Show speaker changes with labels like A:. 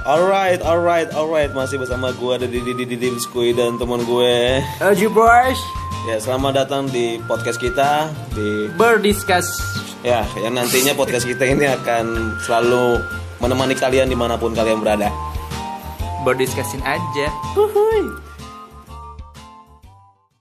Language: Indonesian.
A: Alright, alright, alright. Masih bersama gue ada Didi Didi Didi Skui dan teman gue.
B: LG Boys
A: Ya, selamat datang di podcast kita di
B: berdiskus
A: ya yang nantinya podcast kita ini akan selalu menemani kalian dimanapun kalian berada.
B: berdiskusin aja. Uhuy.